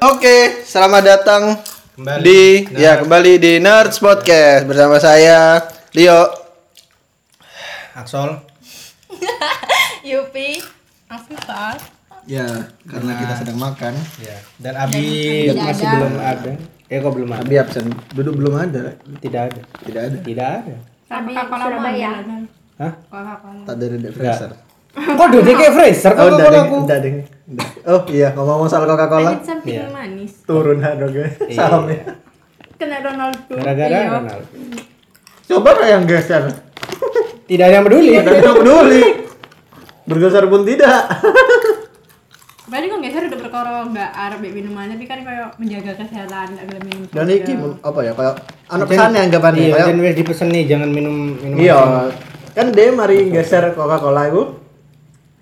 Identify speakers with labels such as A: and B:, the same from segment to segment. A: Oke, selamat datang
B: Kembali.
A: di
B: Nerds.
A: ya kembali di Nerds Podcast bersama saya Leo.
B: Aksol.
C: Yupi Afifah
A: Ya, karena kita sedang makan.
B: Ya. Dan Abi
C: Dan
B: masih
C: ada.
B: belum ada. Eh kok belum ada?
A: Abi absen. Duduk belum ada.
B: Tidak ada.
A: Tidak ada.
B: Tidak ada.
C: Tapi Surabaya
B: Hah?
A: Tak ada Dede Fraser.
B: Kok duduk kayak freezer
A: Oh,
B: kok kok
A: enggak deng,
B: aku?
A: enggak deng. Enggak. Oh iya, ngomong-ngomong soal Coca-Cola,
C: samping
B: Iya.
C: manis
A: turun harga
B: Iya.
A: sahamnya.
C: Kena Ronaldo
B: Gara-gara
C: Iya.
B: Ronaldo.
A: Coba lah yang geser.
B: Tidak ada yang peduli.
A: Tidak Iya, ada yang peduli. Bergeser pun tidak.
C: Berarti kok geser udah perkara nggak Arab ya minumannya Tapi kan kayak menjaga kesehatan nggak boleh minum
A: Dan
C: soda.
A: iki apa ya kayak anak pesannya anggapannya
B: Iya,
A: kayak
B: dan wes dipesen nih jangan minum minum.
A: Iya. Kan dia mari geser Coca-Cola itu.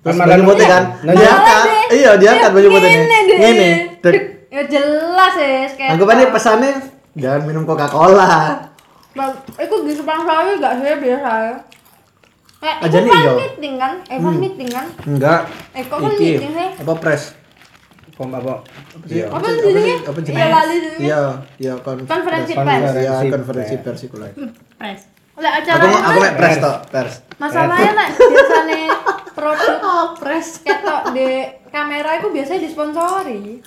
A: Terus
B: Ramadan
A: baju putih kan.
B: Nah,
A: Dia
C: Malah
A: kan.
C: deh.
A: Iya, dia kan baju putih ini.
C: Ngene deh.
A: Ngene. Dek.
C: Ya jelas ya kayak
A: Anggapannya pesannya jangan minum Coca-Cola.
C: Ba- Itu di Kupang Sawi nggak sih biasa Kayak
A: Aja
C: itu
A: nih,
C: fan
A: yo. Hmm.
C: meeting kan Eh fan meeting kan
A: Enggak.
C: Eh kok fan meeting sih
A: Apa press?
B: Kom apa?
A: Iya.
C: Apa sih judulnya?
A: Apa sih?
C: Iya lali judulnya
A: Iya, iya kon.
C: Konferensi
B: Konferensi.
C: pers
A: Iya,
B: Konferensi
A: konferensi
B: pers.
A: pers iku lah.
C: Pres Oleh acara
A: Aku mau
C: itu
A: aku mau press
B: Pers.
A: tok, pers.
C: masalahnya nek biasanya produk Oh, pres ketok di kamera itu biasanya disponsori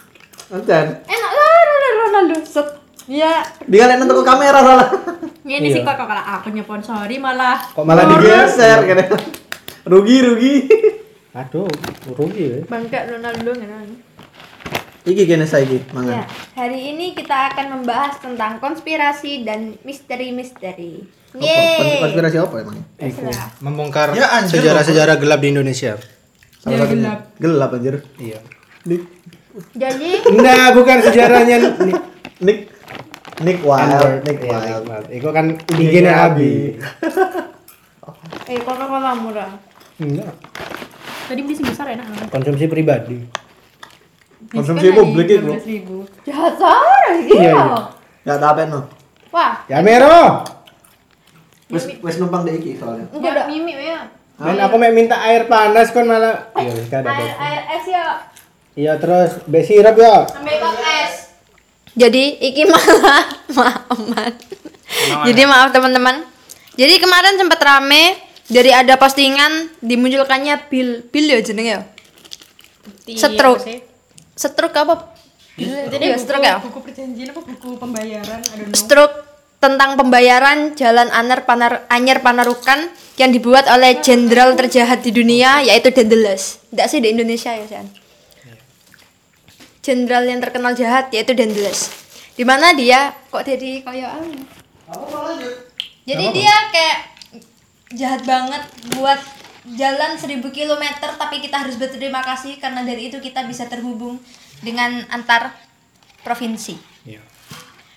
A: Enten.
C: enak Eh, lah Ronaldo Ronaldo set ya
A: Dia kalian nonton ke kamera salah.
B: Iya.
C: ini sih kok kalau aku nyponsori malah
B: Kok
A: Malah
B: malah di
A: digeser kene. Rugi, rugi.
B: Aduh, rugi wes.
C: bangga Ronaldo gitu ngenan
A: Iki kene saiki
C: ya
A: mangan.
C: hari ini kita akan membahas tentang konspirasi dan misteri-misteri
A: Apa?
C: yeay
A: Konspirasi apa emangnya?
B: Iku
C: Terserah.
B: membongkar
A: Ya, anjir,
B: sejarah-sejarah gelap di Indonesia.
A: Salah
C: Ya,
A: satunya. Iya, Gelap anjir.
B: Iya.
A: Nick
C: jadi
B: Nah, bukan sejarahnya nih. Iya,
A: Nick Nick Wilde, Nick Wilde.
B: Iku
A: Iya,
B: kan bikinnya Abi.
C: eh Coca-Cola murah
B: Enggak.
C: tadi beli sebesar enak banget
B: Konsumsi pribadi.
A: Konsumsi
C: kan
A: publik itu.
C: ribu jahat sore gitu
B: Iya, iya.
A: Enggak tak apa no.
C: wah
B: Ya Mero.
A: Wes wes numpang deh iki soalnya.
C: enggak ada mimi ya
B: Dan aku mau minta air panas kon malah. Iya, wis kada.
C: air air es ya
B: Iya terus be sirup ya.
C: Ambil kok es. Jadi iki malah maaman. Jadi maaf teman-teman. Jadi kemarin sempat rame dari ada postingan dimunculkannya bil bil ya jenenge ya. Stroke. Stroke apa? Jadi ya, stroke ya.
D: buku perjanjian apa buku pembayaran I don't know
C: Stroke tentang pembayaran Jalan Aner Panar Anyer Panarukan yang dibuat oleh jenderal terjahat di dunia yaitu Dandeles. Enggak sih di Indonesia ya, San. Jenderal yang terkenal jahat yaitu Dandeles. Di mana dia kok jadi kayak apa? Jadi dia kayak jahat banget buat jalan 1000 km tapi kita harus berterima kasih karena dari itu kita bisa terhubung dengan antar provinsi.
B: Iya.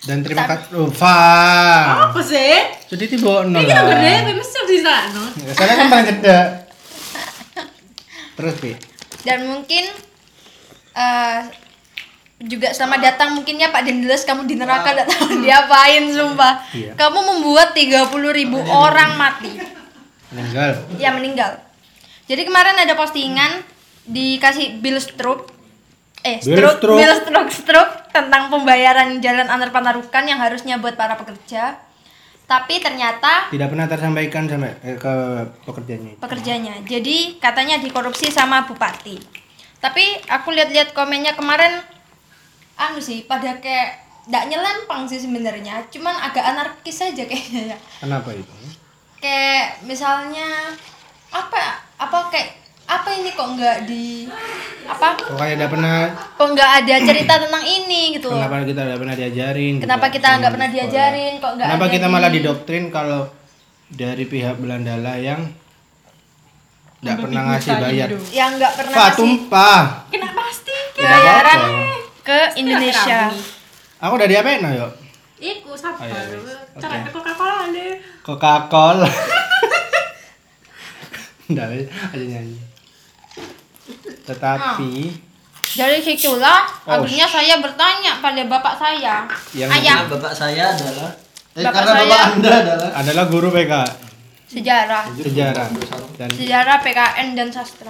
B: Dan terima kasih. Oh, Fang.
D: apa sih
B: Jadi tiba nol.
D: kita gede apa mesti di sana
B: Soalnya kan paling gede. Terus bi.
C: dan mungkin eh, juga selamat datang mungkinnya Pak Dendeles kamu di neraka tidak tahu diapain sumpah
B: Hmm. Iya.
C: kamu membuat 30.000 orang mati
B: Meninggal.
C: ya meninggal jadi kemarin ada postingan dikasih bill stroke eh
B: Bill
C: stroke
B: stroke.
C: bill stroke stroke tentang pembayaran jalan antar panarukan yang harusnya buat para pekerja tapi ternyata
B: Tidak pernah tersampaikan sampai eh, ke pekerjaannya.
C: pekerjanya. Jadi katanya dikorupsi sama bupati. Tapi aku lihat-lihat komennya kemarin anu sih pada kayak ndak nyelempang sih sebenarnya, cuman agak anarkis aja kayaknya. ya.
B: Kenapa itu?
C: Kayak misalnya apa apa kayak apa ini kok nggak di apa
B: Kok kayak tidak pernah.
C: kok nggak ada cerita tentang ini gitu loh.
B: Kenapa kita tidak pernah diajarin? gitu.
C: Kenapa kita nggak pernah
B: Di sekolah.
C: diajarin kok nggak
B: Kenapa
C: ada
B: kita
C: di-
B: malah didoktrin kalau dari pihak Belandala yang tidak pernah ngasih bayar?
C: yang nggak pernah
B: Pak
C: ngasih
B: tumpah.
D: kena pasti
B: Tidak apa-apa.
C: bayaran ke Indonesia.
B: Aku udah diapain no yuk?
D: iku sabar
B: Ayo, ayo.
D: cara
B: iya, Oke.
D: itu Coca-Cola deh
B: Coca-Cola. Enggak, aja nyanyi. Tetapi
C: Dari situlah
B: Oh.
C: akhirnya saya bertanya pada bapak saya,
B: Yang
C: ayah
A: Bapak saya adalah eh,
C: Bapak
A: karena
C: saya-
A: bapak Anda adalah
B: adalah guru PK
C: sejarah,
B: sejarah dan
C: sejarah PKN dan sastra.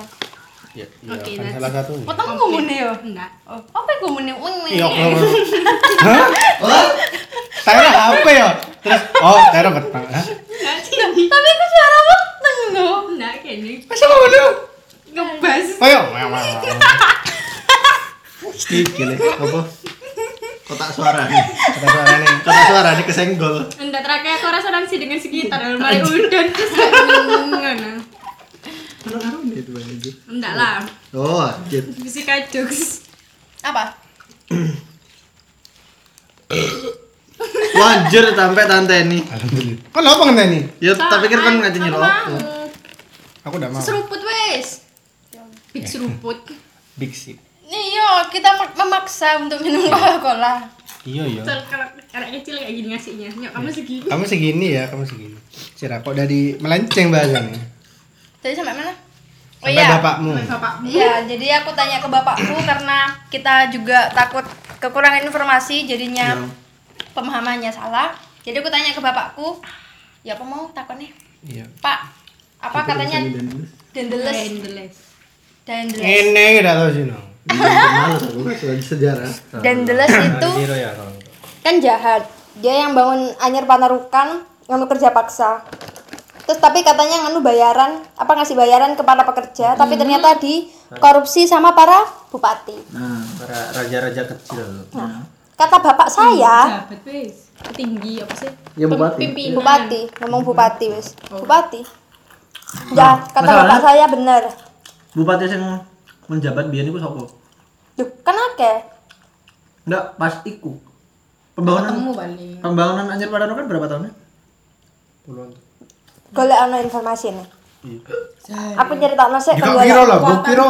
B: Ya, iya,
D: Oke,
B: kan
D: that's-
B: salah satunya.
D: Potong kumune yo. Enggak. Oh, apa kumune? Wing wing.
A: Ya
B: Iya, kalau Hah? Tera apa ya? Terus oh, Tera petang. Hah?
D: Enggak sih. Tapi aku suara weteng lho. Enggak kene.
B: Masa kamu dulu?
D: Ngebas.
B: Ayo, mewah. Sedikit apa?
A: Kotak suara.
B: Kata suara nih.
A: Kotak suara ini kesenggol.
D: Enggak terakhir aku resonansi dengan sekitar dalam mari udan terus ngono.
A: Kenapa itu Bang Iji?
D: Enggak lah.
A: Oh, anjir.
D: Fisika jokes.
C: Apa?
A: Wajar sampai tante ini.
B: Alhamdulillah. Kok lo apa ngene nih?
A: Ya, tak pikir kan ngaji
D: Aku
A: nyelok.
D: mau.
B: Aku udah mau.
D: Seruput wes. Big seruput.
B: Big sih.
C: Nih yo, Iya, kita mak- memaksa untuk minum Coca-Cola.
B: Iya, iya.
D: Soal kalau anak kecil kayak gini ngasihnya. Nyok kamu segini.
B: Kamu segini ya, kamu segini. Sira kok dari melenceng bahasanya.
C: Jadi sampai mana?
B: Sampai
C: Oh iya.
B: bapakmu.
D: Bapakmu.
C: Iya, jadi aku tanya ke bapakku karena kita juga takut kekurangan informasi jadinya
A: Iya.
C: pemahamannya salah. Jadi aku tanya ke bapakku, ya apa mau takutnya?
B: Iya.
C: Pak, apa katanya
D: Lain
C: dandeles?
D: deles.
C: Dandeles.
B: Ini udah tahu sih no. iya,
A: Males aku sudah di sejarah.
B: Gitu.
C: Dandeles itu
B: Zero ya kalau enggak.
C: kan jahat. Dia yang bangun Anyer Panarukan nganu kerja paksa. Terus tapi katanya nganu bayaran, apa ngasih bayaran ke para pekerja, tapi
A: Hmm.
C: ternyata di korupsi sama para bupati.
A: Nah,
B: Para raja-raja kecil.
C: Kata bapak saya,
D: Jabat wes. Tinggi apa sih?
A: Ya, bupati.
D: Pimpinan.
C: Bupati, ngomong bupati wis.
A: Oh.
C: Bupati. Ya, kata bapak saya bener.
A: bupati sing menjabat biyen iku sapa?
C: Duh, kan akeh.
A: Enggak, pas iku. Pembangunan
D: Kamu paling.
A: pembangunan Anjir Padano kan berapa tahunnya?
B: Puluhan.
C: Golek ana informasi nih.
D: Jahat.
C: Aku nyeritakno sik
B: Jika
C: kan
B: kira
C: golek.
B: lah, gue kira.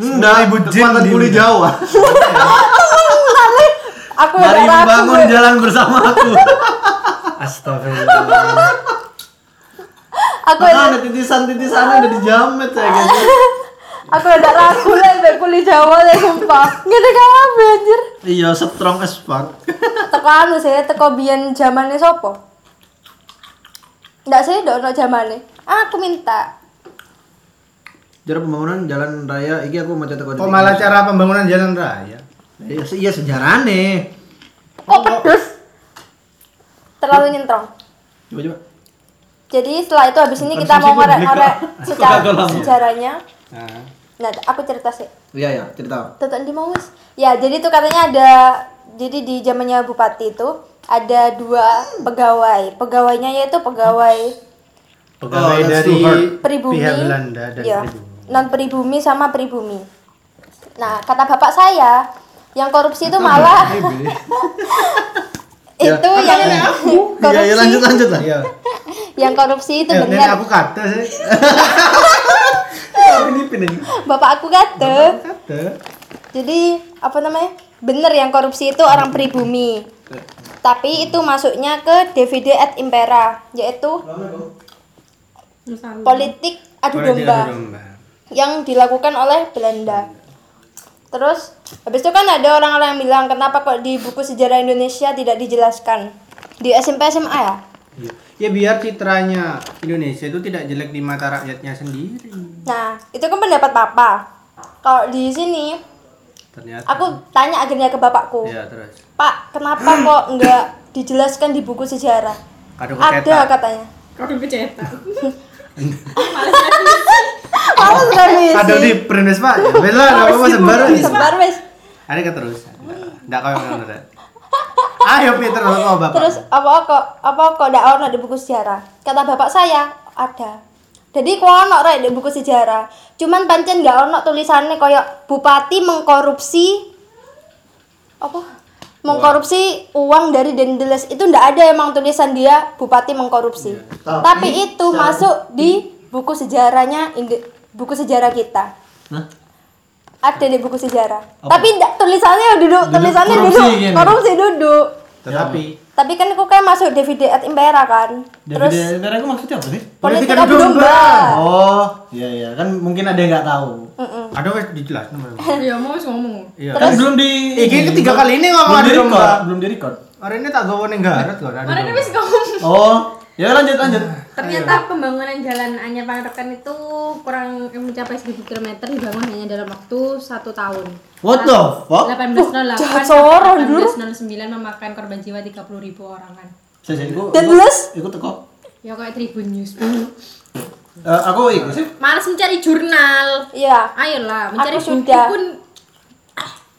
A: Enggak, ibu kekuatan kuli Jawa.
C: Aku
A: Mari
C: ora ragu.
A: membangun jalan bersama aku.
B: Astagfirullah.
C: Aku
A: Nah, ada titisan-titisan udah dijamet saya gitu.
C: aku ora ragu lek mbek kulit Jawa lek sumpah. Ngene kabeh anjir.
A: Iya, strong as fuck.
C: Teko anu sih, teko biyen zamane sapa? Ndak sih, ndak ono zamane. Aku minta.
A: Jarak pembangunan jalan raya iki aku macet teko.
B: Kok malah cara pembangunan jalan raya?
A: Iya, se- iya sejarahane.
C: Kok pedes? Terlalu nyentrong.
A: Coba coba.
C: Jadi setelah itu habis ini kita
B: Konsumsi
C: mau
B: publik,
C: ngorek-ngorek
A: Kak.
C: secara
A: Coca-Cola.
C: sejarahnya.
B: Nah,
C: Nah, aku cerita sih.
A: Iya ya, cerita.
C: Tonton di mau Wis. Ya, jadi itu katanya ada jadi di zamannya bupati itu ada dua pegawai. Pegawainya yaitu pegawai
B: pegawai
A: Oh, that's
B: dari
A: too hard.
C: pribumi.
B: pihak Belanda dan
C: ya,
B: pribumi.
C: non pribumi sama pribumi. Nah, kata bapak saya, yang korupsi itu malah itu yang
A: Ya. Iya,
C: korupsi,
A: iya lanjut Ya, lanjut lah.
B: Iya.
C: yang korupsi itu
B: Eh, nenek
C: benar.
B: aku kata sih.
A: Ini pindah.
C: Bapak aku kata,
B: Kata.
C: Jadi apa namanya? Bener yang korupsi itu orang pribumi. Tapi itu masuknya ke DVD et impera, yaitu
D: Nusa
C: politik adu domba yang dilakukan oleh Belanda. Terus habis itu kan ada orang-orang yang bilang kenapa kok di buku sejarah Indonesia tidak dijelaskan di SMP SMA ya?
B: Iya. Ya biar citranya Indonesia itu tidak jelek di mata rakyatnya sendiri.
C: Nah, itu kan pendapat papa. Kalau di sini
B: Ternyata.
C: aku tanya akhirnya ke bapakku,
B: Iya, terus.
C: Pak kenapa kok nggak dijelaskan di buku sejarah?
B: Kado
C: Ada
B: kecetak.
C: katanya.
D: Kau kecetak.
C: Males kan, revisi.
B: Kado di print Pak. Wes lah, enggak apa-apa sembarang.
C: Sebar wes.
B: Ada keterusan. Enggak kau yang ngono. Dek. Ayo Peter kalau kau Bapak.
C: Terus apa kok apa kok ndak ono di buku sejarah? Kata bapak saya ada. Jadi ku ono rek di buku sejarah. Cuman pancen nggak ono tulisannya koyo bupati mengkorupsi apa? Mengkorupsi uang dari Dendeles itu ndak ada emang tulisan dia bupati mengkorupsi.
A: Iya. Tapi-
C: Tapi itu masuk di buku sejarahnya Inde- buku sejarah kita.
A: Hah?
C: Ada di buku sejarah. Tapi ndak tulisannya duduk, tulisannya
A: korupsi
C: duduk.
A: gini.
C: Korupsi duduk.
B: Tetapi
C: Tapi kan aku kan masuk DVD at Impera kan. Terus
A: Terus Nera aku maksudnya apa sih?
C: politik
B: Politik adu
C: adu domba.
A: Oh, iya iya kan mungkin ada yang nggak tahu.
C: Mm-mm.
B: ada wes dijelas namanya.
D: Ya mau wis ngomong.
B: Iya.
A: Kan belum di
B: Iki ketiga kali ini
A: belum
B: ngomong
A: di
B: adu
A: record,
B: domba.
A: belum di record.
B: Hari ini tak gawa ning garut kok adu
D: Orang
B: domba.
D: wis ngomong.
A: Oh,
E: Ya lanjut lanjut.
D: Ternyata pembangunan jalan Anya Pangeran itu kurang eh, mencapai 1000 km dibangun hanya dalam waktu satu tahun.
B: What the fuck?
D: 1808
F: jahat soron,
D: sampai 1809 memakan korban jiwa 30.000 orangan.
E: Saya jadi
F: Dan terus?
E: Ikut teko.
D: Ya kayak Tribun News.
E: Eh, aku ikut sih.
D: Males mencari jurnal.
F: Iya.
D: Ayolah, mencari
F: Aku
D: buku
F: sudah.
D: pun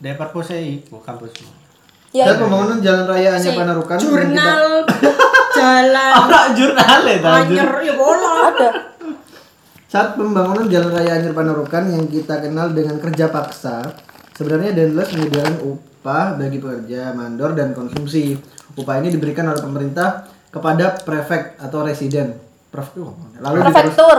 B: Depar Posei, iku kampusmu.
E: Dan
F: Ya.
E: pembangunan jalan raya Anya Panarukan.
D: jurnal jalan
E: Ora jurnal ya
D: anyer
F: Ah.
D: ya bolong.
F: Ada.
E: Saat pembangunan Jalan Raya Anyer Panarukan yang kita kenal dengan kerja paksa, sebenarnya Dendles menyediakan upah bagi pekerja mandor dan konsumsi. Upah ini diberikan oleh pemerintah kepada prefek atau residen. Prefek itu apa? Lalu diterus-
F: Prefektur.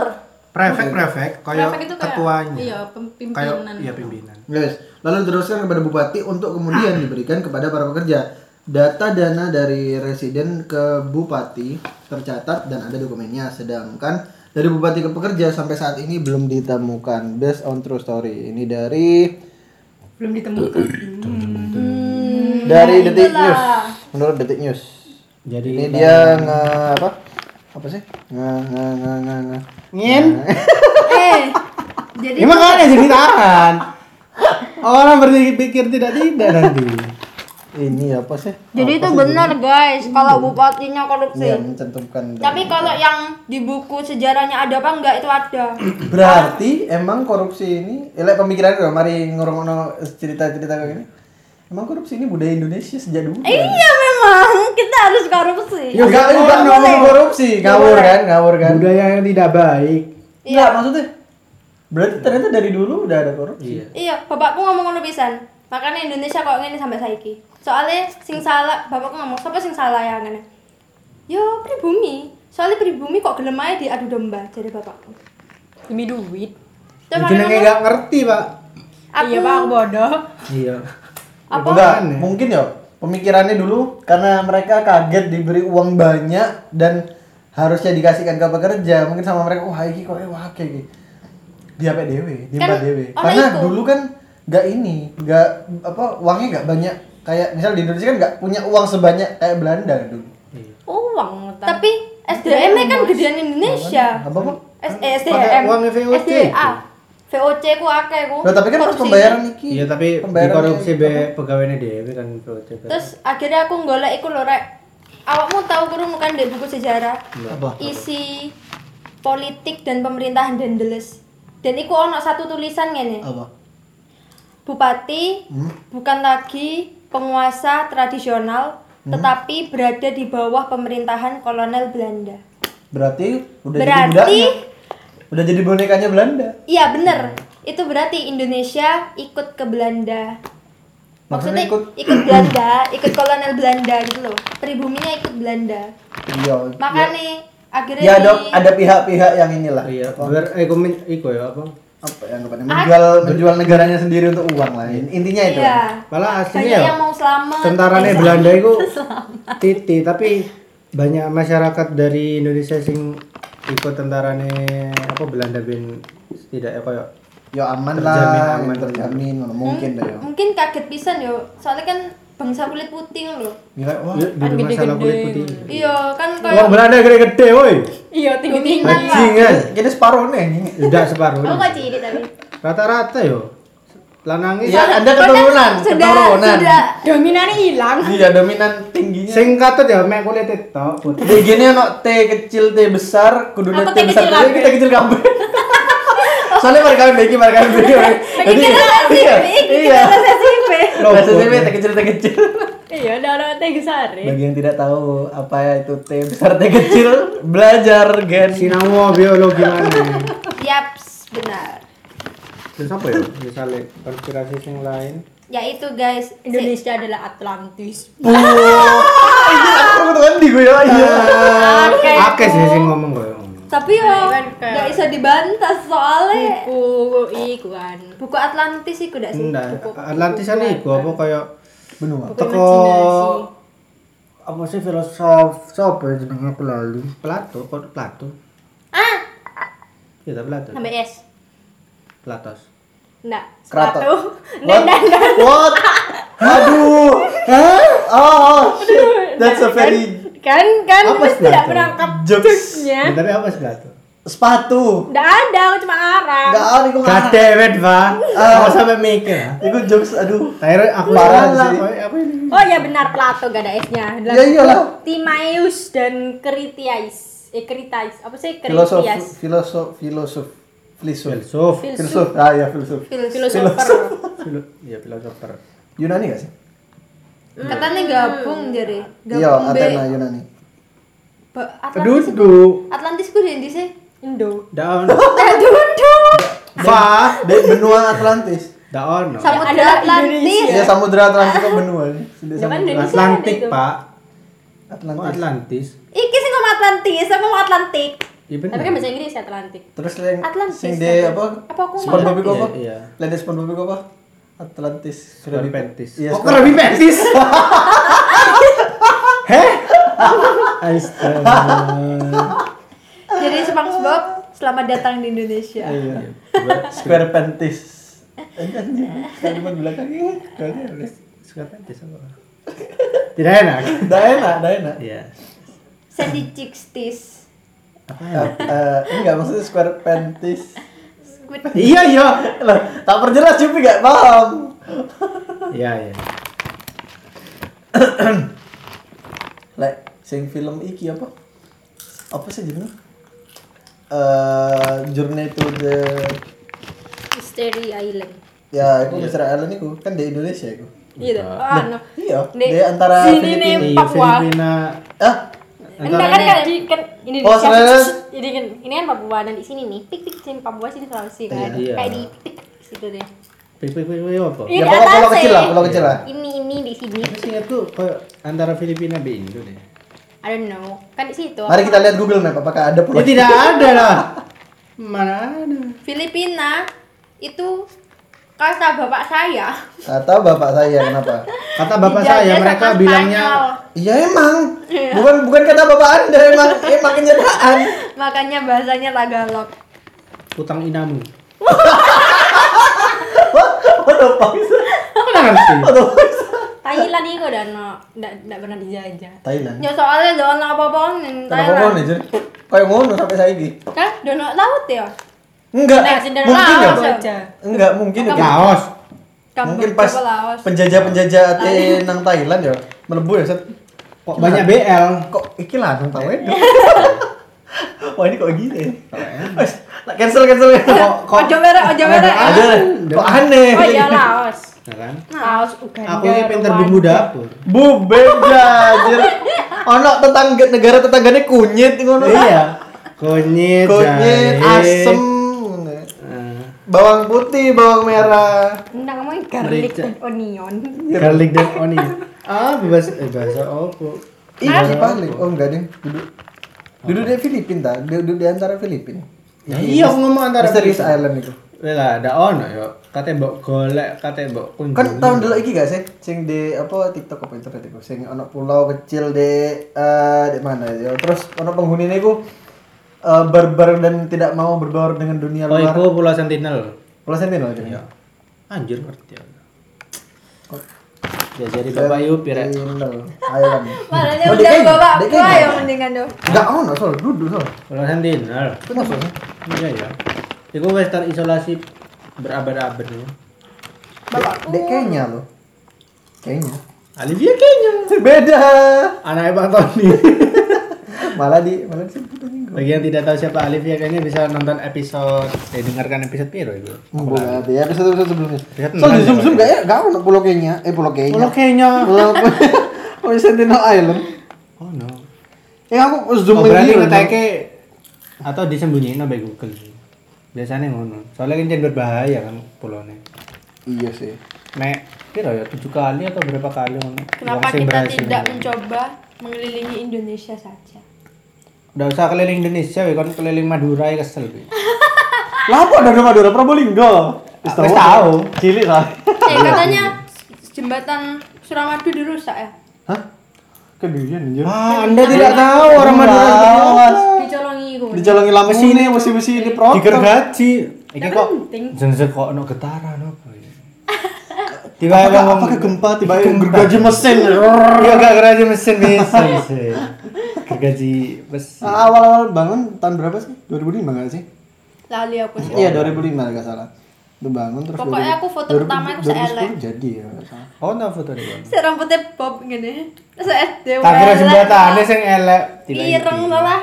B: Prefek, prefek, kayak
D: Prefek itu kayak
B: ketuanya.
D: iya,
B: Kayak
D: pimpinan.
B: iya pimpinan.
E: Yes. Lalu diteruskan kepada bupati untuk kemudian diberikan kepada para pekerja. Data dana dari residen ke bupati tercatat dan ada dokumennya. Sedangkan dari bupati ke pekerja sampai saat ini belum ditemukan. Based on true story. Ini dari
D: Belum ditemukan.
E: dari detik news menurut detik news
B: Jadi
E: ini dia nge apa apa sih nge nge nge nge, nge.
B: Ngin.
C: eh jadi
B: Ini makanya jadi tahan. Orang berpikir tidak tidak nanti.
E: ini apa sih
C: jadi itu benar guys kalau bupatinya korupsi
E: yang mencantumkan
C: tapi kalau yang di buku sejarahnya ada apa enggak itu ada
E: berarti emang korupsi ini elek pemikiran gue mari ngurung cerita cerita kayak gini emang korupsi ini budaya Indonesia sejak dulu
A: Eh,
C: iya memang kita harus korupsi
A: Iya.
E: Yuk, gak bukan ngomong korupsi, ngawur kan, ngawur kan.
B: Budaya yang tidak baik.
E: Enggak, maksudnya berarti ternyata dari dulu udah ada korupsi.
C: Iya, bapakku ngomong ngono pisan. Makanya Indonesia kok ngene sampai saiki. Soalnya sing salah, bapakku ngomong, "Sopo sing salah ya ngene?" Yo pribumi. Soalnya pribumi kok gelem ae diadu domba jadi bapakku.
F: Demi duit.
C: Terus
B: Mungkin
C: makanya
B: nggak ngerti pak.
C: aku
F: Iya, Pak, aku bodoh.
B: Iya.
E: Apa? Enggak, mungkin ya pemikirannya dulu karena mereka kaget diberi uang banyak dan harusnya dikasihkan ke pekerja mungkin sama mereka wah iki kok wah kayak gini dia apa dewe dia apa
C: Kan
E: dewe
C: oleh
E: karena
C: itu.
E: dulu kan nggak ini nggak apa uangnya nggak banyak kayak misal di Indonesia kan nggak punya uang sebanyak kayak Belanda dulu
F: Uang. Tan.
C: tapi SDM -nya kan gedean Indonesia.
E: apa Kan apa
C: S eh,
B: Pakai
C: SDM.
B: uangnya VOC.
C: SDA. VOC ku akeh ku.
E: Loh, gitu. tapi kan harus
C: Korupsi.
E: pembayaran iki
B: Iya tapi
E: Pembayaran
B: dikorupsi
E: iki.
B: be pegawainya dewe kan proyek.
C: Terus akhirnya aku golek iku lho rek. Awakmu tahu kurung kan di buku sejarah?
E: apa
C: isi politik dan pemerintahan Dendeles. Dan iku ono satu tulisan ngene.
E: apa
C: Bupati
E: Hmm?
C: bukan lagi penguasa tradisional
E: Hmm?
C: tetapi berada di bawah pemerintahan kolonel Belanda.
E: berarti udah jadi
C: Berarti
E: budaknya udah jadi bonekanya Belanda
C: iya bener. Itu berarti Indonesia ikut ke Belanda. Maksudnya
E: Maksudnya
C: ikut, Belanda, ikut kolonel Belanda gitu loh. Pribuminya ikut Belanda.
E: iya
C: Makanya akhirnya
E: ya ada
C: di-
E: ada pihak-pihak yang inilah
B: Iya. Ber, eh komen, iko ya apa?
E: apa ya anggapannya menjual menjual negaranya sendiri untuk uang lah In- intinya itu
C: iya.
B: Malah
C: Banyak
B: aslinya ya.
C: yang mau selamat.
B: Tentarane Belanda itu titi tapi banyak masyarakat dari Indonesia sing ikut tentarane apa Belanda bin setidaknya kayak
E: ya aman
B: Terjamin,
E: lah
B: aman.
E: aman terjamin ngono. mungkin ya. deh yo
C: gitu. mungkin kaget pisan yo soalnya kan bangsa kulit putih lho
E: gila wah
B: ya, dulu masalah kulit putih.
C: iya kan
B: Wah
C: kayak
B: Belanda gede-gede woi.
F: Iya, tinggi-tinggi.
B: Bajingan.
E: jadi separuh nih anjing
B: Tidak separuh.
C: Oh,
D: Aku kok ciri tapi.
B: Rata-rata yo. Lanangnya
E: iya ada keturunan
C: sudah
E: keturunan
C: sudah
F: Dominannya hilang.
E: iya dominan tingginya
B: sing katut ya mek kulit tok putih.
E: D Ya, gini ono T kecil T besar kudu
F: Apa
E: T
F: T
E: besar
F: kecil
E: kudu
F: kabeh?
E: kita kecil kabeh soalnya mereka kawin lagi mereka kawin lagi jadi iya iya
F: SSIP.
E: Loh, SSB, T kecil T kecil
F: Iya, darah teh sari.
E: bagi yang tidak tahu apa itu T besar T kecil belajar gen
B: Sinau biologi mana?
C: yaps benar
B: Terus apa ya? Misalnya konspirasi sing lain.
C: yaitu Ya guys si-
F: Indonesia adalah Atlantis.
E: aku tuh kan di gue ya iya
C: Oke.
B: Akeh sih sing ngomong koyo ngono.
C: tapi yo
F: kan kayak-
C: nggak bisa dibantah
D: Iya.
G: Iya.
C: soalnya
F: Buku
D: kan.
F: ikuan.
C: buku Atlantis sih kuda sih
B: Enggak, Atlantis kan iku apa kaya
E: benua
B: teko apa sih filosof sapa ya jenenge aku lali. Plato, kok Plato? Ah. Ya Plato.
C: sampai es
B: Platos.
F: Nggak.
E: Keraton.
F: Sepatu.
E: what what aduh Hah? oh, oh shit that's a very
G: kan kan
B: Apa
G: Mas tidak
B: sepatu?
G: menangkap
E: Jokes.
G: jokesnya
B: Ya, tapi apa sepatu?
E: Sepatu.
G: tidak ada aku cuma ngarang
E: Gak ada gue
B: God damn it, Pak. Kamu sampai mikir. ah.
E: Itu jokes aduh.
B: Akhirnya aku
E: Parah
B: salah.
E: sih.
B: Apa- Apa ini?
G: oh
C: iya,
G: ya benar Plato gak ada S-nya
E: Ya iyalah.
G: Timaeus dan Kritias eh Kritais apa sih
E: Filosof,
G: Kritias
E: filosof, filosof,
B: Filsuf.
E: filosof, filosof. Ah ya filosof.
G: filosofer
B: Filo- Iya, filosofer.
E: Yunani gak sih?
D: Hmm.
C: katanya gabung jadi
E: Iya,
C: gabung be
E: Athena Yunani.
C: Ba- Atlantis
B: Duduk.
C: Atlantis ku di sih
G: Indo
B: Daon.
E: Fa, de, benua Atlantis.
B: Daon. no.
C: Samudra
G: Adalah
C: Atlantis
E: Ya samudra Atlantis kok benua sih? Sudah
G: ya kan
E: samudra.
G: Indonesia kan gitu. ada
B: Atlantik,
G: itu.
B: Pak. Kok
E: Atlantis.
B: Atlantis?
C: iki sih ngomong Atlantis aku ngomong Atlantik
B: Iya
G: tapi kan
B: benar.
G: bahasa Inggris Atlantik
E: Terus yang
C: Atlantis,
E: sing de
C: kan?
E: apa?
C: Apa aku
E: SpongeBob itu apa?
B: Iya, iya.
E: Lady SpongeBob itu apa? Atlantis.
B: Krabby Patties.
E: Iya,
B: Oh, Kok
E: Krabby
B: Krabby Patties? Heh? Astaga.
C: jadi SpongeBob selamat datang di Indonesia
E: Iya. Square Iya, Panties. Anjir, kalimat belakangnya. kalian.
B: Suka Patties apa? Tidak enak.
E: Dah enak, dah enak.
B: Iya.
C: Sandy Chicks
B: Ah,
E: Eh, eh, enggak maksudnya square panties.
B: Iya, iya.
E: Loh, tak perjelas Jupi gak paham.
B: Iya, iya.
E: Lek, sing film iki apa? Apa sih judulnya? Eh, Journey to the
G: Mystery Island
E: Ya,
B: Iya.
E: aku Mr. Island iku kan di Indonesia iku.
G: gitu oh no
E: Iya,
G: Di-
E: di antara
G: sini
E: Filipina.
G: nih.
B: Iya,
G: Papua.
B: Filipina.
E: Ah,
G: Enggak kan kan di kan ini
E: Oh, Australia.
G: Ini kan ini kan Papua dan di sini nih. Pik pik sini Papua sini Sulawesi kan.
B: Iya.
G: Kayak di pik pik situ deh.
B: Pik pik pik pik apa?
G: Iya, di
E: ya pokok pulau
G: atas
E: kecil
G: sih.
E: lah,
A: Iya,
E: pulau kecil lah.
G: Ini ini di sini.
B: Tapi sih itu kayak antara Filipina dan Indo deh.
G: I don't know. Kan di situ.
E: Mari kita lihat Google Map apakah ada
B: Ya
E: pulau.
B: tidak ada lah. Mana ada?
C: Filipina itu kata bapak saya
E: Atau bapak saya kenapa?
B: Kata bapak
C: dijajah
B: saya
C: sama
B: mereka
C: Spanyol.
B: bilangnya
E: Iya emang. Bukan bukan kata bapak Anda emang, Iya, emang kenyataan.
C: makanya bahasanya Tagalog
B: utang inamu.
E: What the fuck?
B: Mana ngerti?
G: Thailand itu udah no enggak enggak pernah dijajah.
E: Thailand.
C: ya soalnya doang apa apa
E: Kenapa kau nih jadi kayak ngono sampai saiki?
C: Hah? Donok laut ya?
E: Enggak.
G: Nah, sendiri
E: Mungkin
G: laut
E: enggak.
D: ya?
G: aja.
E: Enggak mungkin. enggak.
B: Laos.
E: Mungkin
C: Kamboja
E: pas
C: apa Laos?
E: penjajah-penjajah ate nang Thailand ya melebu ya set.
B: Kok banyak BL?
E: Kok iki lah nang tahu itu. Wah ini kok gini. ya? Wes, lah, cancel cancel. Kok
B: Kok
C: Ojo merek, ojo merek.
B: kan?
E: ada kok aneh.
G: Oh iya Laos.
B: Ya kan?
D: Nah.
G: Laos Uganda.
B: Aku ini pintar bumbu dapur.
E: Bu beda anjir. Ono tetangga negara tetanggane kunyit ngono.
B: Iya. Kunyit, jahe,
E: Kunyit asem.
B: eh,
E: Bawang putih, bawang merah.
G: Enggak ngomongin garlic
B: Merica.
G: dan onion.
B: garlic dan onion. Ah, bebas eh bahasa opo.
E: Ih, masih paling. Oh, enggak deh. Duduk. Duduk di Filipina, tak? Duduk di antara Filipina.
B: Ya iya aku ngomong antara
E: Misterius Island itu.
B: Lah, ada ono yo. Kate mbok golek, kate mbok kunjungi.
E: Kan tahun dulu iki gak sih? Sing di apa TikTok apa internet iku? Sing ono pulau kecil di eh di mana ya? Terus ono penghuni niku eh barbar dan tidak mau berbaur dengan dunia
B: Oh,
E: luar.
B: iku Pulau Sentinel.
E: Pulau Sentinel gitu.
B: Iya. Anjir ngerti aku. Ya jadi Bapak Yupi rek.
E: Iya. Sentinel Island.
C: Malah dia
E: Oh, dia
C: udah
E: kayak-
C: bawa
E: dia kayak
C: gua ya
E: gimana?
C: mendingan dong.
E: Enggak ono soal oh, duduk soal.
B: Pulau Sentinel.
E: Itu maksudnya.
B: Iya ya. Iku wis terisolasi berabad-abad ya.
E: Dek- Dek kayaknya lo. Kayaknya.
B: Olivia kayaknya.
E: Beda.
B: Anaknya Pak Tony.
E: Malah di malah di situ minggu.
B: Bagi yang tidak tahu siapa Olivia kayaknya bisa nonton episode eh dengarkan episode piro itu.
E: Bukan ada ya episode episode sebelumnya.
B: Lihat
E: Soal
B: enam
E: di zoom
B: ya,
E: zoom gak ya? Gak ada pulau kayaknya. Eh pulau kayaknya.
B: Pulau kayaknya.
E: Pulau Pulau Sentinel Island.
B: Oh no.
E: Eh aku zoom
B: Oh, berarti
E: lagi.
B: ngeteke atau disembunyiin oleh Google. Biasanya ngono. Soalnya kan jadi berbahaya kan pulaunya.
E: Iya sih.
B: Nek kira ya tujuh kali atau berapa kali ngono. Wong
C: Kenapa
B: sing
C: kita
B: berhasil.
C: tidak mencoba mengelilingi Indonesia saja?
B: Udah usah keliling Indonesia, we kon keliling Madura ya kesel we.
E: Lah apa dari Madura Probolinggo? Wis
B: Ah, Wis tahu.
E: Cilik lah.
C: Eh katanya jembatan Suramadu dirusak ya?
E: Hah? Keduyan anjir.
B: Ah, Anda tidak tahu orang Madura.
E: Awas.
G: Dicolongi gue.
E: Dijalongi lampu ini besi-besi ini
C: Oh,
E: pro.
B: Digergaji. Iki kok
G: penting.
B: jenjek kok ono getaran apa ya? Tiba
E: Apakah-
B: ngomong-
E: apakah gempa tiba
B: Gempa.
E: gergaji mesin
B: Iya gak gergaji mesin bisa bisa. Gergaji mesin.
C: Ah.
E: awal-awal bangun tahun berapa sih 2005 nggak sih
C: Lali aku sih.
E: iya 2005 nggak salah itu bangun terus
C: Pokoknya aku foto pertama aku E.
E: 2010 jadi ya nggak salah.
B: Oh no foto di bawah.
C: Saya rambutnya bob gini. Terus SD.
B: Tak kira
C: welet,
B: jembatannya sing elek. Tiba
C: Ireng
B: ngerti.
C: lah.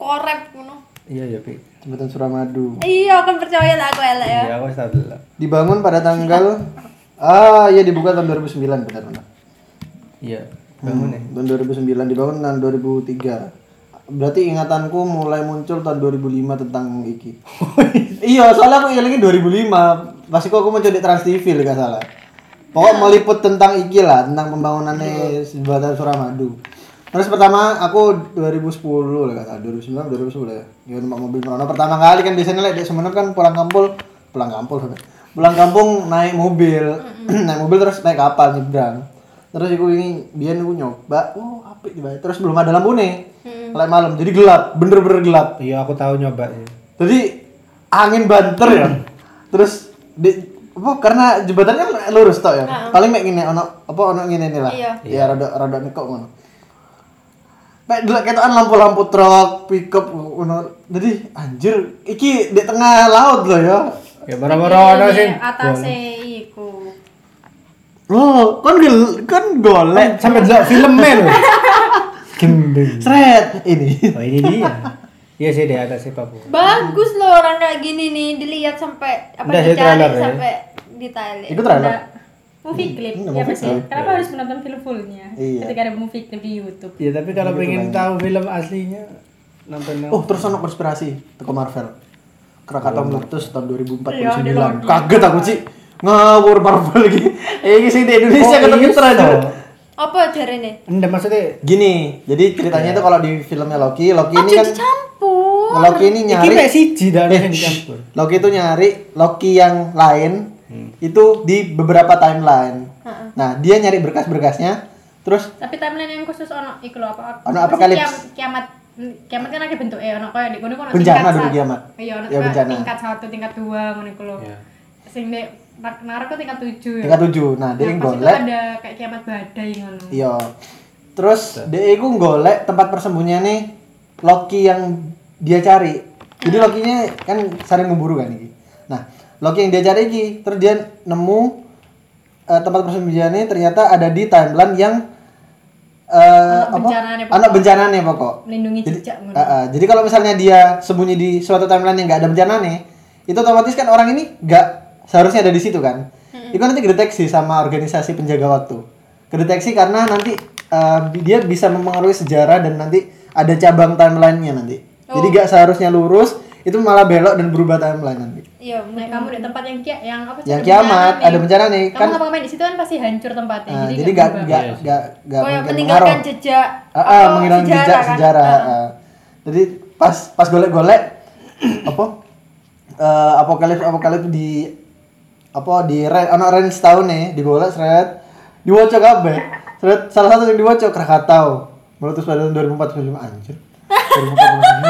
C: Korep ngono.
B: Iya iya pi.
E: jembatan Suramadu
C: Iya, kan percaya lah aku elek ya.
B: Iya aku tahu dulu.
E: dibangun pada tanggal ah iya dibuka tahun 2009 benar benar
B: Iya.
C: Hmm.
E: bangun ya tahun 2009 dibangun tahun 2003 berarti ingatanku mulai muncul tahun 2005 tentang iki iya soalnya aku ingat 2005 pasti kok aku muncul di Trans TV nggak salah pokok meliput tentang iki lah tentang pembangunannya jembatan Suramadu terus pertama aku 2010 lah nggak salah 2009 2010 ya ya numpak mobil Merono pertama kali kan biasanya lah di Sumenep kan pulang kampung pulang kampung pulang kampung naik mobil naik mobil terus naik kapal nyebrang terus aku ini biar aku nyoba oh apik tiba terus belum ada lampu nih lek malam jadi gelap bener-bener gelap
B: Iya aku tahu nyoba sih.
E: jadi angin banter ya terus di apa karena jembatannya kan lurus tau ya paling kayak gini ono apa ono gini nih lah
C: Iya.
E: ya rada rada nekok ngono Mek dulu ketokan lampu-lampu truk, pickup, ngono. Jadi anjir, iki di tengah laut loh ya.
B: Ya boro-boro ono sing.
D: atase iku.
E: Oh, kan gel, kan golek.
B: Sampai delok filmnya lho. Gendeng.
E: Sret ini.
B: Oh ini dia. Iya sih di atas sih Papua.
C: Bagus loh orang kayak gini nih dilihat sampai apa
B: Udah, saya
C: dicari
B: trailer ya.
C: sampai detail.
E: Itu trailer.
D: Movie clip
E: Ini
D: ya
E: movie
D: pasti.
E: clip.
D: Kenapa harus menonton film fullnya?
E: Iya.
D: Ketika ada movie clip di YouTube.
B: Ya tapi kalau pengen tahu film aslinya nonton
E: Gitu kan. Oh, terus anak konspirasi teko Marvel. Krakatau meletus tahun 2049. Kaget aku, Ci. Ngawur Marvel iki. Eh, iki sing di Indonesia
B: Oh,
E: ketemu
B: iya,
E: Mitra
B: so.
C: Apa jarene?
B: Enggak maksudnya
E: Gini, jadi ceritanya itu kalau di filmnya Loki, Loki
D: Oh,
E: ini kan
C: Campur.
E: Loki ini
B: Iki
E: nyari
B: mek siji dah
E: Eh,
B: yang
E: shh.
B: dicampur.
E: Loki itu nyari Loki yang lain itu di beberapa timeline. Nah, dia nyari berkas-berkasnya terus
D: Tapi timeline yang khusus ono iku lho apa?
E: Ono
D: apa sih
E: apokalips.
D: kiam- Kiamat kiamat kan ada bentuke ono koyo di kono kono
E: Bencana
D: tingkat
E: dulu
D: sa-
E: kiamat.
D: Iya, ono
E: Ya,
D: koyo
E: bencana. Iya.
D: tingkat 1, tingkat 2 ngono iku lho. Sing nek Ragnarok kan tingkat 7 ya.
E: tingkat 7.
D: Nah,
E: Nah, dia
D: pas itu
E: golek
D: ada kayak kiamat badai ngono.
E: Iya. Terus dia itu golek tempat persembunyiannya Loki yang dia cari. Jadi Lokinya kan sering memburu kan iki. Nah, Loki yang dia cari iki, terus dia nemu eh, tempat persembunyiannya ternyata ada di timeline yang eh
D: Anak bencananya pokok.
E: Anak bencananya pokok.
D: Melindungi
E: Jadi,
D: jejak ngono.
E: eh, eh, jadi kalau misalnya dia sembunyi di suatu timeline yang nggak ada bencana nih, itu otomatis kan orang ini nggak seharusnya ada di situ kan. Itu nanti kedeteksi sama organisasi penjaga waktu. Kedeteksi karena nanti eh, dia bisa mempengaruhi sejarah dan nanti ada cabang timelinenya nanti. Jadi nggak seharusnya lurus, itu malah belok dan berubah timeline nanti.
C: Iya,
D: Nah, kamu di tempat yang kia, yang apa sih? ada
E: Yang
D: bencana
E: kiamat,
D: nih.
E: ada bencana nih,
D: Kamu
E: kan-
D: ngapa-ngapain di situ kan pasti hancur tempatnya.
E: Nah,
D: jadi
E: jadi
D: nggak
E: nggak
D: berubah.
E: nggak nggak nggak
C: Koyo
E: mungkin
C: meninggalkan
E: pengaruh.
C: jejak
E: Ah, ah,
C: apa,
E: menghilangkan jejak
C: Oh, kan?
E: sejarah.
C: Ah.
E: ah. Jadi pas pas golek-golek apa eh, apokalips apokalips di apa di ren anak ren setahun nih digolek seret diwoco kabeh. Seret salah satu yang diwoco Krakatau. Meletus pada tahun 2049 anjir. 2049.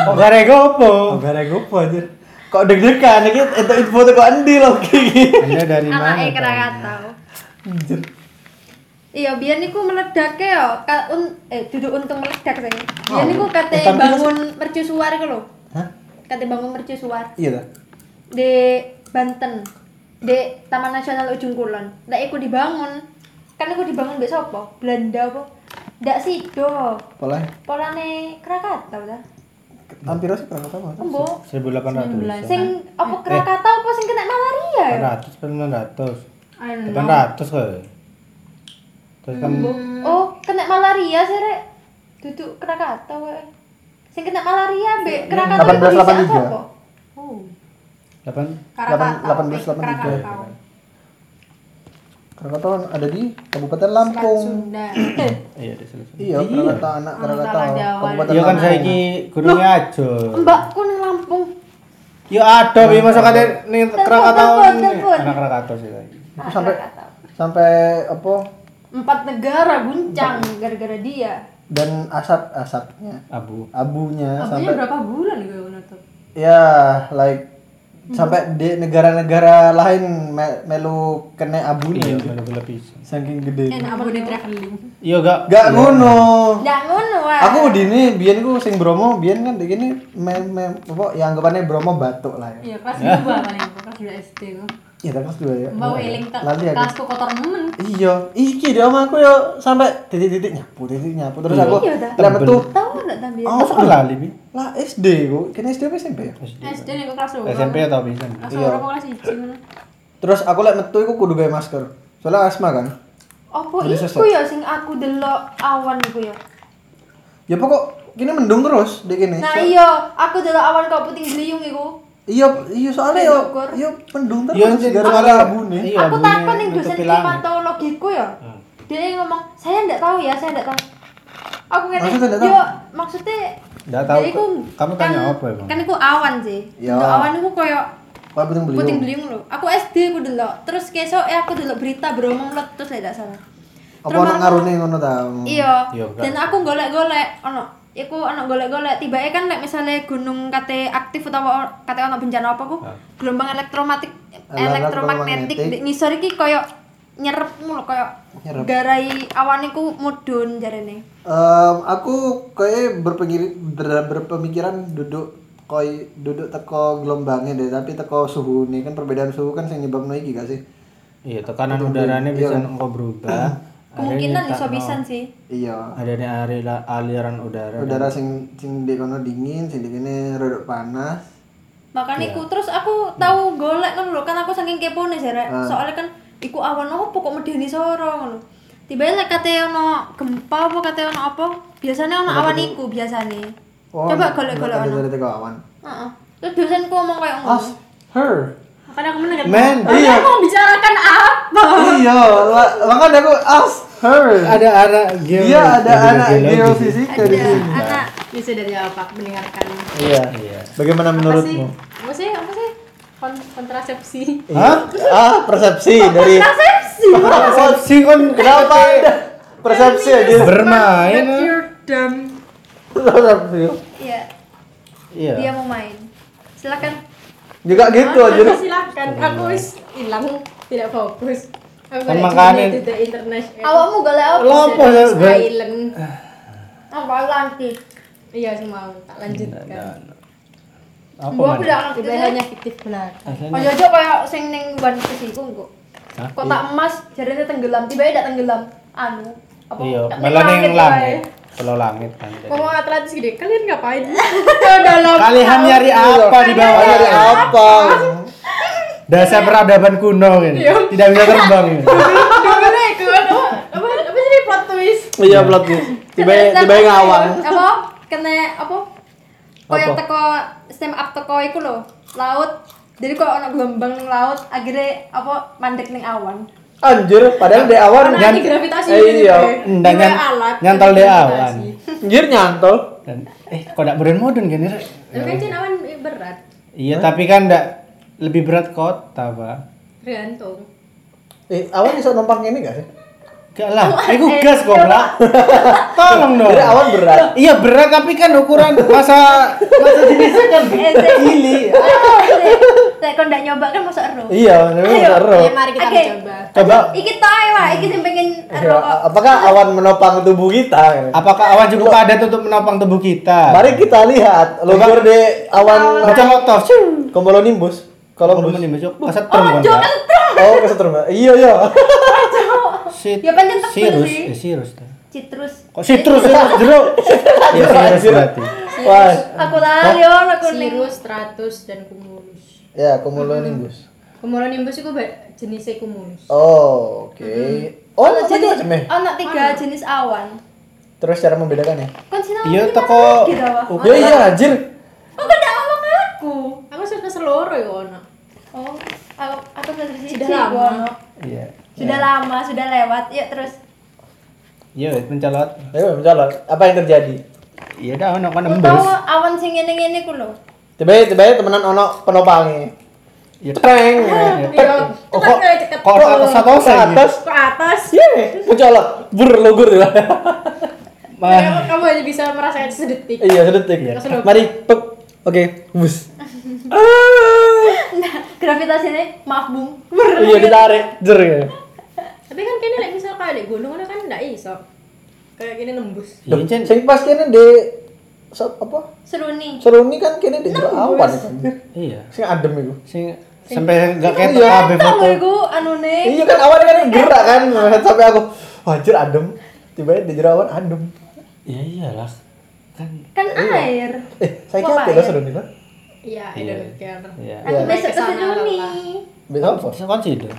B: Kok gara gopo?
E: Gara gue anjir. Kok deg-degan iki itu info tuh kok endi loh kayak
B: Anda dari
C: Anak
B: mana?
C: e Krakatau. Iya, biar niku meledak ya, ka, un, eh duduk untung meledak saya. Biar niku kate bangun mercusuar iku lho.
E: Hah?
C: Kate bangun mercusuar
E: Iya dah.
C: di Banten. Di Taman Nasional Ujung Kulon. Nek iku dibangun, kan iku dibangun mbek sapa? Belanda apa? Ndak sido.
E: Pola
C: Polane Krakatau ta?
E: hampir sih Krakatau. Mas.
C: Embo.
B: 1800.
C: Sing apa Krakatau apa sing kena malaria ya?
B: 800 900.
D: I don't
B: 800
D: know.
B: kok. Terus kan kamu
E: Hmm.
C: Oh, kena malaria sih, Rek. Duduk kena kata, we. Sing kena malaria, Mbak. Kena kata itu bisa
E: 1883.
C: apa?
D: Oh,
B: 8
E: 1883. Krakatau ada di Kabupaten Lampung.
D: Sunda.
B: Iya, udah selesai.
E: Iya, Krakatau anak Krakatau. Kabupaten
B: Iya kan
E: Lampung.
B: saiki gunungnya aja.
C: Mbakku nang Lampung.
B: Ya ada bi masuk kate ning Krakatau.
C: telepon,
B: ini.
C: telepon.
B: Anak Krakatau sih tadi.
E: Aku sampai sampai apa?
C: Empat negara guncang gara-gara dia.
E: Dan asap asapnya,
B: Abu.
E: abunya
D: Abunya
E: sampai
D: berapa bulan gue nonton?
E: ya like Sampai di negara-negara lain me- melu kena abune.
B: Iya, bela-bela pisan.
E: Saking gede.
D: Enak apa nih traveling?
B: Iya gak?
E: Gak ngono.
D: Nggak ngono ah.
E: Aku di ini, biyen ku sing Bromo, biyen kan di gini me, me, apa, ya anggapannya Bromo batuk lah ya.
D: Iya kelas dua paling aku kelas dua SD ku.
E: Iya, tapi kelas dua ya.
D: Mbak Weling tak
E: Lali aku.
D: kelasku kotor nemen.
E: Iya, iki deh om aku yo sampai titik-titik nyapu, titik nyapu
A: Iya.
B: Iya.
E: terus aku lek metu.
C: Tahu enggak tapi?
E: Oh,
B: Masa lali bi?
E: lah SD ku, kene SD apa SMP ya?
D: SD nih aku kelas dua.
B: SMP atau pisan?
D: Kelas
E: Iya.
D: dua aku kelas hiji ngono.
E: Terus aku lek metu iku kudu gawe masker. Soalnya asma kan.
C: Opo
E: Jadi
C: iku
E: sesek.
C: ya sing aku delok awan iku ya.
E: Ya pokok kini mendung terus di kene.
C: Nah
E: So-
C: iya, aku delok awan kok puting gliyung iku.
E: Iya, iya soalnya yo
C: Bogor.
E: yo mendung terus.
B: Iya, jadi
E: gara-gara
B: malah-
E: abune.
B: Iya,
C: Aku
B: bunyi
C: takon ning dosen
B: nutupi langit.
C: klimatologiku ya. Dia ngomong, "Saya ndak tahu ya, saya ndak tahu." Aku ngerti.
E: Maksudnya ndak tahu?
C: Yo, maksudnya
B: Ndak tahu,
C: Jadi iku
B: kok. Kamu tanya
C: kan-
B: apa emang?
C: Kan iku awan sih.
E: Ya.
C: Delok awan iku koyo
E: Kalau puting beliung.
C: puting beliung lho. Aku SD aku delok. Terus kesok eh aku delok berita Bromo meletus lek ndak salah.
E: Apa
C: Terus
E: ono
C: aku-
E: ngarune ngono ta?
C: Iya.
B: Iya, kan.
C: Dan aku golek-golek ono iku ono golek-golek tibake kan lek misalnya gunung kate aktif utawa o- kate ono bencana apa ku gelombang elektromatik Eh, elektromagnetik
E: Elektromagnetik.
C: di ngisor iki koyo nyerep mulu koyo
E: Nyerep.
C: garai awan iku mudhun jarene.
E: Em, aku kayak berpengiri- ber- berpemikiran duduk koi duduk teko gelombangnya deh tapi teko suhu nih kan perbedaan suhu kan sing nyebabno iki gak sih
B: Iya, tekanan udaranya bisa engko berubah.
C: Kemungkinan iso pisan sih.
E: iya
B: Ada nih aliran aliran udara.
E: udara sing sing di kono dingin sing di kene rada panas
C: Makanya iku terus aku tahu golek ngono lho kan aku saking kepone jare. Soalnya kan iku awan opo kok medeni soro ngono. Tiba-tiba lek kate ono gempa apa kate ono apa, biasanya ono awan iku biasane. Coba
E: nek-
C: golek-golek
E: nek
C: Oh, ono.
E: ada teko awan
C: Heeh. Terus dosenku ngomong kayak ngono.
E: her
D: Makanya aku mendengar.
E: Men, iya.
D: Aku membicarakan apa?
E: iya la- makanya aku ask her
B: Ada ada geo.
C: Iya,
E: dia ada anak
B: geologi.
E: geofisika di
C: Ya,
E: sini
C: anak
D: Bisa dari apa? Mendengarkan.
E: iya
B: Iya.
E: bagaimana
D: Apa sih?
E: menurutmu
D: Apa sih? Apa sih? Kon- kontrasepsi.
E: Hah? Ah, persepsi dari
C: persepsi.
E: persepsi kan kenapa ada persepsi aja
B: Bermain.
D: That
B: ah.
D: you're dumb.
E: persepsi
C: Iya,
B: Iya.
C: dia mau main. Silakan.
E: juga gitu aja
D: Silahkan, silahkan aku wis hilang tidak fokus aku
B: Kan
D: balik
B: makanya-
D: dulu the international
C: Awakmu golek apa?
B: Lopo ya, Bang?
D: island
C: Apa lanti?
D: iya sih mau tak
E: Nah,
D: lanjutkan
B: Apa
C: Gua
B: mana?
C: tidak ngerti.
D: tiba hanya fiktif belaka
B: Aslinya
C: Aja aja kayak sing ning ban kesiku kok.
B: Hah?
C: Kotak emas jarene tenggelam, tiba-tiba tidak tenggelam. Anu, apa?
B: Iya,
C: Ndak
B: malah
C: nang
B: neng
C: langit
B: langit. Kalau langit kan.
D: ngomong atletis gede kalian ngapain ke dalam
B: Kalian nyari apa di bawah?
E: dari apa
B: Dasar peradaban kuno ini. Tidak bisa terbang ini.
D: dulu deh ke apa apa apa sih plot twist
E: iya plot twist tiba tiba
C: wae.
E: ngawang
C: Apa? Kena apa? Kayak teko stem up teko iku lho, laut. Jadi kok ono gelombang ning laut, akhirnya apa mandek ning awan.
E: anjir padahal di awan
D: karena
E: nyan-
D: anti gravitasi
E: Eh,
D: ini
E: iya
D: deh.
B: Ndak
D: Ini
B: nyan-
D: alat
B: nyantol
D: anti
B: deh
D: gravitasi.
E: kan?
B: awan.
E: anjir nyantol
B: Dan eh kok ndak modern modern gini Rek?
D: tapi kan cina awan berat
B: Iya, tapi kan ndak lebih berat kota, Pak.
D: tergantung
E: eh awan bisa numpang ini gak sih
B: Gak lah, itu gas goblok. Tolong dong.
E: jadi awan berat
B: Iya berat tapi kan ukuran masa masa jenisnya kan
C: Eh,
B: gili.
C: Ah, Lek kon ndak nyoba kan masuk ero.
E: iya memang seru
D: ya mari kita
C: Oke.
D: coba
E: coba
C: Iki tae wae, iki sing pengen
E: iya,
C: ero kok.
E: apakah awan menopang tubuh kita
B: Apakah awan cukup padat untuk menopang tubuh kita?
E: mari kita lihat lumpur di awan
B: Macam lotos.
E: komolonimbus
B: Kalau
E: kalau
B: belum menimbul kesetrum kan.
C: Jo
B: Pak?
C: entuk.
E: oh kesetrum ya? iya iya
B: Sit-
C: Ya, penting tebel
B: Sirus,
C: sih.
B: eh, sirus. dah.
C: Citrus.
B: Kok sitrus sirus jeruk? Ya sirus berarti.
E: wah
C: Aku lari ono aku ning.
D: Sirus, stratus, dan cumulus.
E: ya komolonimbus
D: Cumulonimbus itu ba- jenisnya cumulus.
E: Oh, oke. Oh,
C: Ono
E: macam
C: jenis
E: macam ya?
C: ono tiga jenis awan.
E: Terus cara membedakannya?
C: Kon sinau.
B: Iya
C: klimatologi
B: teko.
C: tau, Oh, Wak.
E: ya iya, anjir.
C: Kok gak ada ngomong aku?
D: Aku suka seluruh ya ono.
C: Oh, aku aku sudah sih
D: Sudah
C: sih,
D: lama.
C: gua no.
B: Iya.
C: Sudah lama, sudah lewat. Yuk terus.
B: Iya, mencolot.
E: Ayo, mencolot. Apa yang terjadi?
B: Iya dah ono kan
C: Aku tahu
B: embus.
C: awan sing ngene-ngene ku lho.
E: Tiba-tiba tiba-tiba temenan ono penopangnya.
B: Iya.
E: Treng.
D: Iya,
B: Oh,
D: cepat
B: kok-
D: ya, cepat.
B: Kok Iya. atas atas
E: Ke atas.
D: Ke atas.
E: Ye, mencolot. Bur lugur ya.
D: Kamu kamu hanya bisa merasakan sedetik.
E: Iya, sedetik.
D: Terus lu-
E: Mari, pek. Oke, bus.
D: Gravitasinya maaf Bung.
B: Iya ditarik, jer ya.
D: Tapi kan kene lek misal kayak lek gunung kan ndak iso. Kayak kene nembus.
B: Iya, Cen.
E: Sing pas kene di so, apa?
D: Seruni.
E: Seruni kan kene di jero awan kan.
B: Iya.
E: Sing adem itu.
B: Sing sampai enggak
C: ya,
B: kayak
E: Iya.
B: kabeh foto.
D: Iku
C: Eh,
D: anune
E: Iya kan awan kan gerak kan sampai aku wajar adem. Tiba-tiba di jero awan adem.
B: Iya iyalah. Kan
D: kan air.
E: Eh, saya kira apa ya seruni kan?
D: Iya, I don't care.
B: Iya.
D: Aku besok ke Seruni.
E: Bisa apa?
B: Bisa kan sido.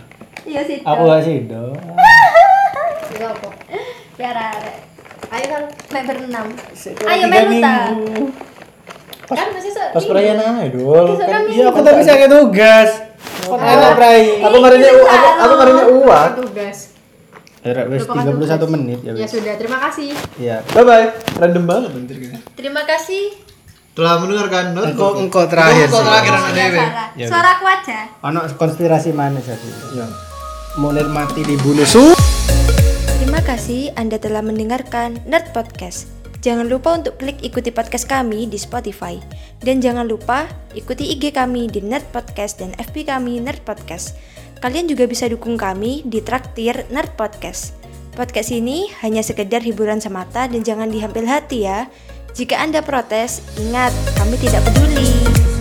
D: Iya sih.
B: Aku gak sido.
C: Ya rare. Ayo kan main berenam.
E: Ayo
C: Meluta.
D: Kan masih se
E: Pas perayaan aja dul.
D: Besok kan
B: Iya, aku tapi saya tugas. Kan enak prai.
E: Aku marinya u- aku aku marinya uak.
H: tugas.
B: Ya wis 31 menit ya
H: Ya
B: wis.
H: sudah, terima kasih.
B: Iya.
E: Bye bye. Random banget bentar kan.
C: Terima kasih.
E: Telah mendengarkan Nur.
I: Engkau engkau terakhir.
E: Engkau terakhir anak dewe.
C: Sarah. Suara aku aja.
B: Ono konspirasi manis aku.
E: Iya.
B: Mau nikmati dibunuh su.
C: Terima kasih Anda telah mendengarkan Nerd Podcast. Jangan lupa untuk klik ikuti podcast kami di Spotify. Dan jangan lupa ikuti IG kami di Nerd Podcast dan FB kami Nerd Podcast. Kalian juga bisa dukung kami di Traktir Nerd Podcast. Podcast ini hanya sekedar hiburan semata dan jangan dihampil hati ya. Jika Anda protes, ingat kami tidak peduli.